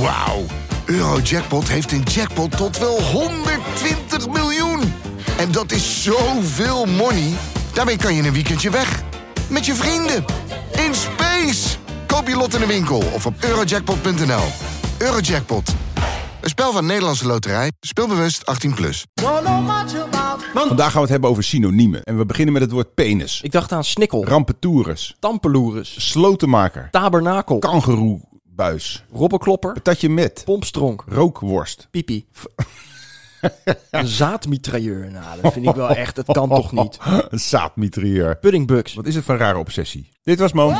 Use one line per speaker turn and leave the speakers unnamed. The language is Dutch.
Wauw. Eurojackpot heeft een jackpot tot wel 120 miljoen. En dat is zoveel money. Daarmee kan je in een weekendje weg. Met je vrienden. In space. Koop je lot in de winkel of op eurojackpot.nl. Eurojackpot. Een spel van Nederlandse Loterij. Speelbewust 18+. Plus.
Vandaag gaan we het hebben over synoniemen. En we beginnen met het woord penis.
Ik dacht aan snikkel,
Rampentoerus.
tampeloeres,
Slotenmaker.
tabernakel,
Kangeroebuis.
robbenklopper,
Patatje met.
pompstronk,
Rookworst.
pipi. Een zaadmitrailleur, nou, dat vind ik wel echt, dat kan toch niet.
Oh, Een zaadmitrieur.
Puddingbugs.
Wat is het voor een rare obsessie? Dit was Moon.